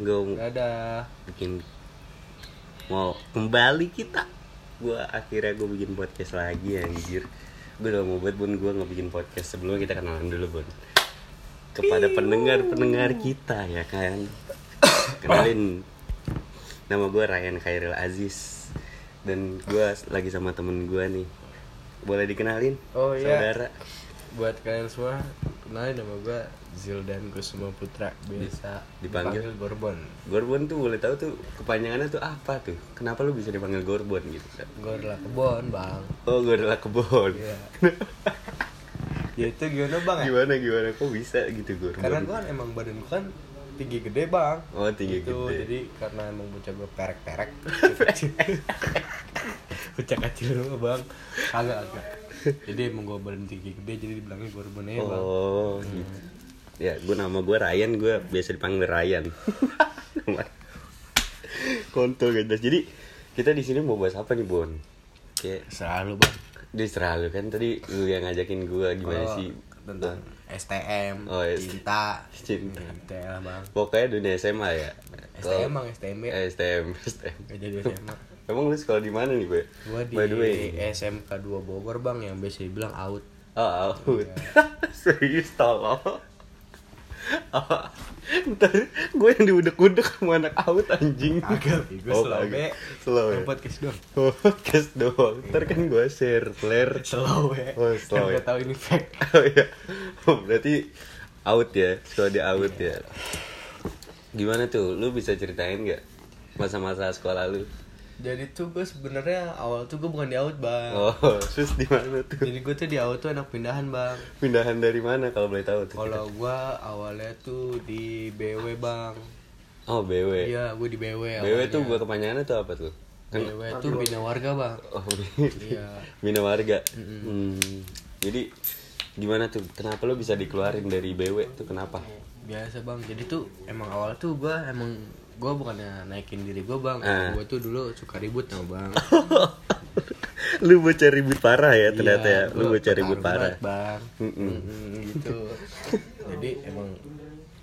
gue Dadah. bikin mau kembali kita gue akhirnya gue bikin podcast lagi anjir gue udah mau buat bun gue nggak bikin podcast sebelumnya kita kenalan dulu bun kepada pendengar pendengar kita ya kan kenalin nama gue Ryan Khairil Aziz dan gue lagi sama temen gue nih boleh dikenalin Oh, iya. saudara Buat kalian semua, kenalin nama gue Zildan Kusuma Putra, biasa Dipanggil? Gorbon. Gorbon tuh boleh tahu tuh kepanjangannya tuh apa tuh kenapa lu bisa dipanggil Gorbon gitu kan Gorla kebon, Bang. oh Gorla kebon Iya. ya itu gimana, Bang? ya? gimana gimana kok bisa gitu Gorbon Karena gue kan emang badan gue kan tinggi gede, Bang. oh tinggi Gitu, gede jadi karena emang bocah gue perek-perek. bocah kecil lu, Bang. Kagak, kagak. Jadi emang gue badan tinggi gede, jadi dibilangnya Gorbon ya, Bang. oh gitu ya gue nama gue Ryan gue biasa dipanggil Ryan Nama- kontol gak jelas. jadi kita di sini mau bahas apa nih Bon kayak Selalu, Bang. dia selalu kan tadi lu yang ngajakin gue gimana Oh, sih tentang STM, Oh, S- cinta, Cinta. Hmm, cinta lah bang. pokoknya dunia SMA ya STM bang, STM ya. Eh, STM STM Gak jadi SMA. Emang lu sekolah di mana nih, Be? Gua di By the way. SMK 2 Bogor bang, yang biasa dibilang out. Oh, iya. out. Serius tolong. Apa? Ntar gue yang diudek-udek sama anak out anjing. Agak, gue Oh, slow kagak. be. Slow ya? Podcast dong. Oh, Podcast doang. Ntar kan gue share flare. Slow be. Oh, slow, Yang ya. Gak tau ini fact. Oh iya. Oh, Berarti out ya, sekolah di out ya. Gimana tuh? Lu bisa ceritain gak masa-masa sekolah lu? Jadi tuh gue sebenarnya awal tuh gue bukan di out bang. Oh, terus di mana tuh? Jadi gue tuh di out tuh anak pindahan bang. Pindahan dari mana kalau boleh tahu tuh? Kalau gue awalnya tuh di BW bang. Oh, BW. Iya, gue di BW BW. awalnya. tuh gue kepanjangannya tuh apa tuh? Kan BW tuh bina warga bang. oh, Iya. bina warga. Hmm, Jadi gimana tuh? Kenapa lo bisa dikeluarin dari BW tuh kenapa? biasa bang jadi tuh emang awal tuh gue emang gue bukannya naikin diri gue bang Ah. gue tuh dulu suka ribut sama bang lu mau cari ribut parah ya Iya, ternyata ya. Lu mau gua cari ribut petarung parah. banget, bang Mm-mm. Mm-mm, gitu jadi emang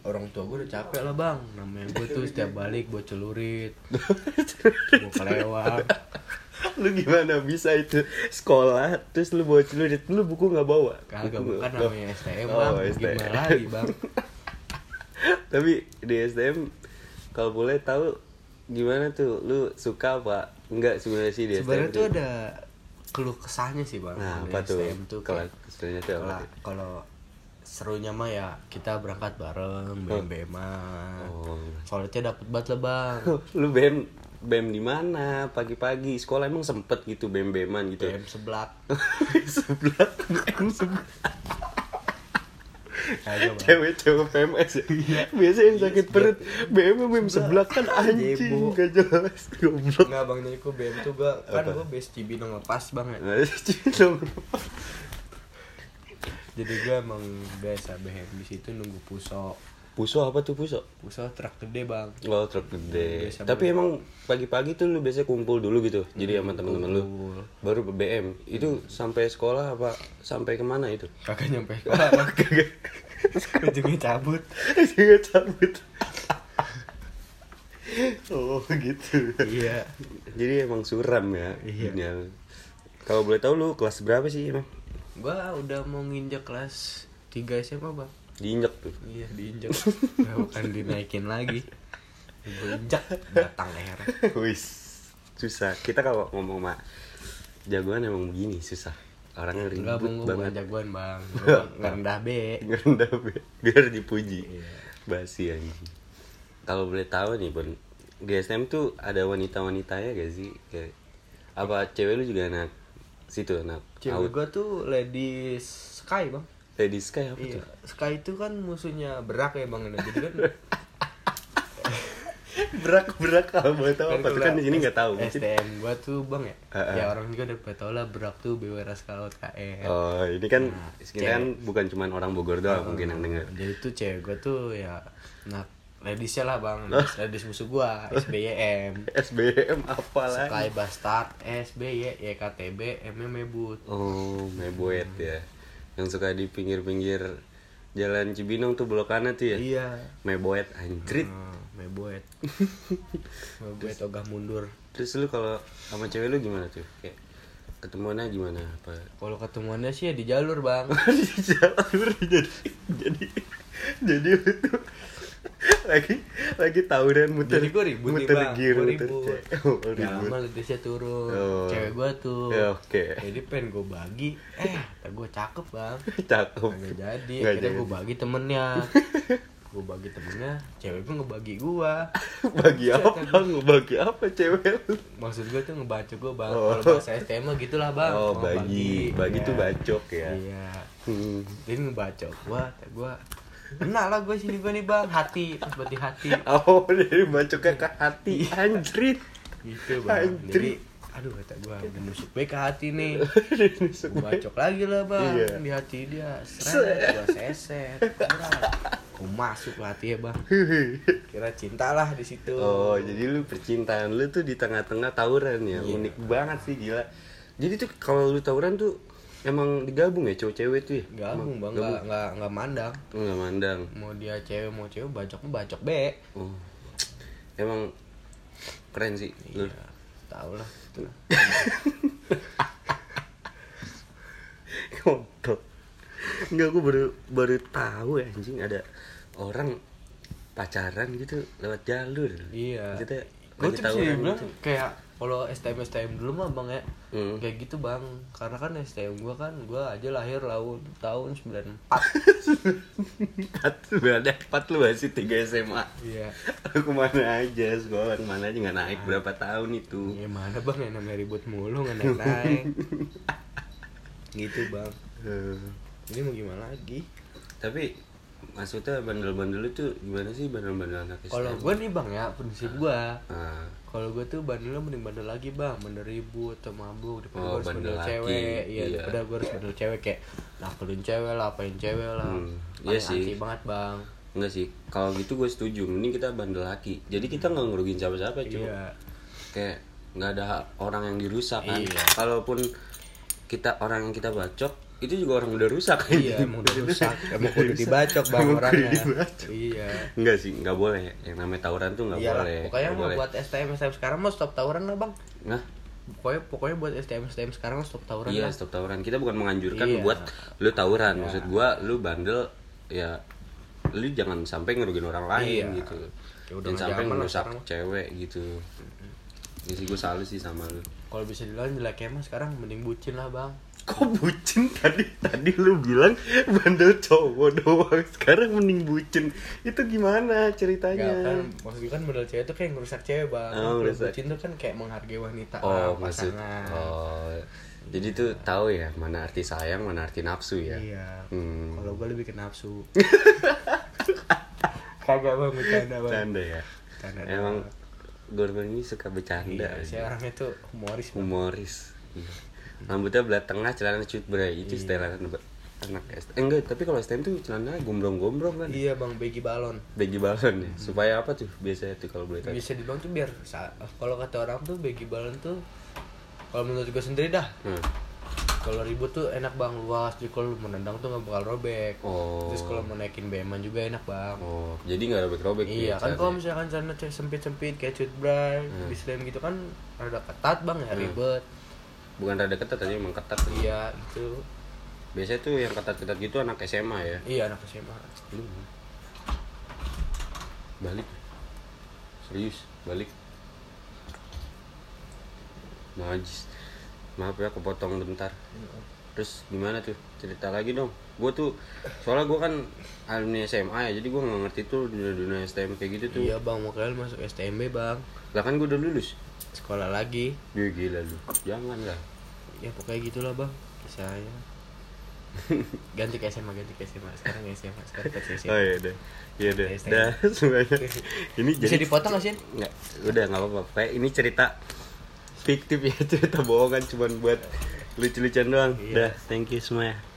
orang tua gue udah capek lah bang namanya gue tuh setiap balik gue celurit gue kelewat lu gimana bisa itu sekolah terus lu bawa celurit lu buku nggak bawa kagak Buku nggak- bukan namanya STM Oh, bang STM. gimana lagi bang tapi di SDM kalau boleh tahu gimana tuh lu suka apa enggak sebenarnya sih di SDM sebenarnya tuh ada keluh kesahnya sih bang nah Ada apa tuh STM tuh kalau kayak- sebenarnya tuh apa Kalau tuh? kalau serunya mah ya kita berangkat bareng bem-beman. Oh. Soalnya dapet banget lah bang. lu bem bem di mana pagi-pagi sekolah emang sempet gitu bem beman gitu Bem seblak. sebelah bem sebelah Kagak Nah, iya, bang. cewek-cewek PMS ya biasa yang sakit perut bem bem sebelah kan anjing Jebo. gak jelas goblok Enggak bang jadi gue bem tuh gua kan Apa? gue base Cibinong lepas bang ya. Nah, cinta lu. Jadi gue emang biasa bem di situ nunggu puso. puso apa tuh puso Puso truk gede bang. Oh truk gede. Biasa Tapi emang pagi-pagi tuh lu biasanya kumpul dulu gitu. Jadi sama teman-teman lu. Baru ke BM. Itu sampai sekolah apa sampai kemana itu? Kagak nyampe sekolah bang. Kagak. Ujungnya cabut. Juga cabut. oh gitu. Iya. Jadi emang suram ya. dunia lu. Kalau boleh tahu lu kelas berapa sih emang? Gue udah mau nginjek kelas 3 SMA bang. Diinjek tuh. Iya diinjak Nah, Bukan dinaikin lagi Diinjak Batang leher Wis. Susah. Kita kalau ngomong sama jagoan emang begini susah. Orang Enggak bang, ribut gue bukan banget. jagoan bang Gua nggak rendah B rendah Be. biar dipuji Iya. basi anjing kalau boleh tahu nih bon di STM tuh ada wanita wanitanya gak sih kayak apa cewek lu juga anak situ anak Cewek out gue tuh Lady Sky bang Lady Sky apa Iya tuh Sky itu kan musuhnya berak ya bang Jadi kan berak berak apa boleh tahu apa tuh kan kalau di sini nggak tahu mungkin STM gue tuh bang ya Heeh. Ya orang juga udah pada tau lah berak tuh BW Raskal KR oh ini kan kita kan bukan cuman orang Bogor doang mungkin yang denger Jadi tuh cewek gue tuh ya Nah Ladiesnya lah bang Ladies, ladies musuh gue SBYM SBM apa lagi Sky Bastard, SBY, YKTB, MM Ebut. oh meboet ya yang suka di pinggir pinggir jalan Cibinong tuh blok kanan tuh ya Iya. meboet anjrit Hmm, namanya boet Namanya boet ogah mundur Terus lu kalau sama cewek lu gimana tuh? Kayak ketemuannya gimana? Apa? kalau ketemuannya sih ya di jalur bang Di jalur jadi jadi jadi lu tuh lagi lagi tawuran muter jadi gue ribut nih muter bang gear gue muter ribut cewek. Oh, lu Gak ribut. lama Leticia turun Oh. cewek gue tuh Ya, oke. jadi pengen gue bagi eh gue cakep bang cakep Gak jadi, Nggak akhirnya jadi. gue bagi temennya Gue bagi temennya, cewek gue ngebagi gue bagi kan- apa lu bagi apa cewek lu Maksud gue tuh ngebaca gue bang, Oh. kalau bahasa STM mah gitulah bang oh Mau bagi bagi Iya. tuh bacok ya Iya, Hmm. jadi ngebaca gue, gue Kena lah gue sini gue nih bang, hati, terus berarti hati Oh dari bacoknya ke hati Iya. anjrit Gitu bang, Anjir. jadi Aduh kata gue, udah nusuk gue ke hati nih Dari nusuk Gue bacok lagi lah bang, Iya. di hati dia Seret, gue seset, Gue masuk ke hati ya bang kira cintalah di situ Oh, jadi lu percintaan lu tuh di tengah-tengah tawuran ya. Iya. Unik banget sih gila. Jadi tuh kalau lu tawuran tuh emang digabung ya cowok cewek tuh ya? gabung bang Gabung. nggak nggak nggak mandang Lu nggak mandang. mau dia cewek mau cewek bacok bacok be Oh. Emang keren sih lu. ya, tau lah gitu lah. Kontol. Enggak, aku baru baru tahu ya, anjing ada orang pacaran gitu lewat jalur. iya Kita gue lagi tuh bisa tawuran dibilang gitu. kayak kalau STM STM dulu mah bang ya Hmm. kayak gitu bang karena kan STM gue kan gue aja lahir tahun tahun 94 Empat, lu ada empat lu masih tiga SMA. iya Aku kemana aja sekolah kemana aja nggak naik berapa tahun itu gimana Ya, bang yang namanya ribut mulu nggak naik naik gitu bang Eh, ini mau gimana lagi tapi maksudnya bandel-bandel itu gimana sih bandel-bandel anak kalau STM? gue nih bang ya prinsip gue Ah, Kalau gue tuh bandelnya mending bandel lagi bang, bandel ribut atau mabuk Oh, daripada gue harus bandel, bandel lagi. cewek, iya, Iya. daripada gue harus bandel cewek kayak nakulin cewek lah, apain cewek lah, Hmm, Paling iya sih. anti banget bang, enggak sih kalau gitu gue setuju mending kita bandel laki jadi kita nggak ngerugiin siapa-siapa cuy iya, kayak nggak ada orang yang dirusak kan Iya. kalaupun kita orang yang kita bacok itu juga orang udah rusak kan iya emang udah rusak, emang kudu dibacok bang Iya. Emang kudu orangnya, dibacok. iya, enggak sih nggak boleh yang namanya tawuran tuh nggak iyalah, boleh pokoknya nggak mau boleh. buat STM STM sekarang mau stop tawuran lah bang, nah pokoknya pokoknya buat STM STM sekarang mau stop tawuran Iya lah, stop tawuran. Kita bukan menganjurkan Iya. buat lu tawuran. Maksud gua lu bandel ya lu jangan sampai ngerugiin orang lain Iya. gitu. Ya udah jangan nggak sampai zaman lah ngerusak sekarang mah. cewek gitu. Jadi gua salut sih sama lu. kalau bisa dibilang jeleknya mah sekarang mending bucin lah bang, Kok bucin tadi tadi lu bilang bandel cowok doang. Sekarang mending bucin. Itu gimana Enggak kan, ceritanya? maksudnya kan modal cewek tuh kayak ngerusak cewek bang Oh, Kalau ngerusak. Bucin tuh kan kayak menghargai wanita lah, Oh, maksud pasangan oh. Jadi tuh tahu ya mana arti sayang, mana arti nafsu ya. Iya Hmm. Kalau gue lebih ke nafsu Kagak bang, bercanda bang Bercanda ya. Bercanda Emang doang. Gorman ini suka bercanda. Iya, saya orangnya tuh humoris bang humoris Iya. rambutnya belah tengah celana cut bray itu Iya. style anak anak STM. Eh, enggak tapi kalau STM tuh celana gombrong-gombrong kan Iya bang, begi balon bagi balon ya supaya apa tuh biasanya tuh kalau boleh tahu Bisa dibilang tuh biar, sa- kalau kata orang tuh begi balon tuh Kalau menurut gue sendiri dah Hmm. kalau ribut tuh enak bang luas jadi kalau lu menendang tuh nggak bakal robek oh terus kalau mau naikin beman juga enak bang oh jadi nggak robek-robek ya, Iya celana kan kalau ya? misalkan sana cek sempit-sempit kayak cut bray, Hmm. di slam gitu kan rada ketat bang ya ribet. bukan rada ketat tadi emang ketat Iya itu. biasanya tuh yang ketat-ketat gitu anak SMA ya Iya anak SMA. Lu. balik serius balik najis maaf ya kepotong bentar terus gimana tuh cerita lagi dong gue tuh soalnya gue kan alumni SMA ya jadi gue nggak ngerti tuh dunia dunia STM kayak gitu tuh Iya bang makanya lu masuk STMB bang lah kan gue udah lulus sekolah lagi. dia gila lu jangan lah Ya pokoknya gitulah bang kisahnya. ganti ke SMA ganti ke SMA sekarang SMA sekarang ke SMA. iya deh iya deh Oke, dah semuanya ini Bisa dipotong nggak sih? Nggak, udah nggak apa-apa. Kayak ini cerita fiktif ya, cerita bohongan cuman buat lucu-lucuan doang. Udah, thank you semua ya.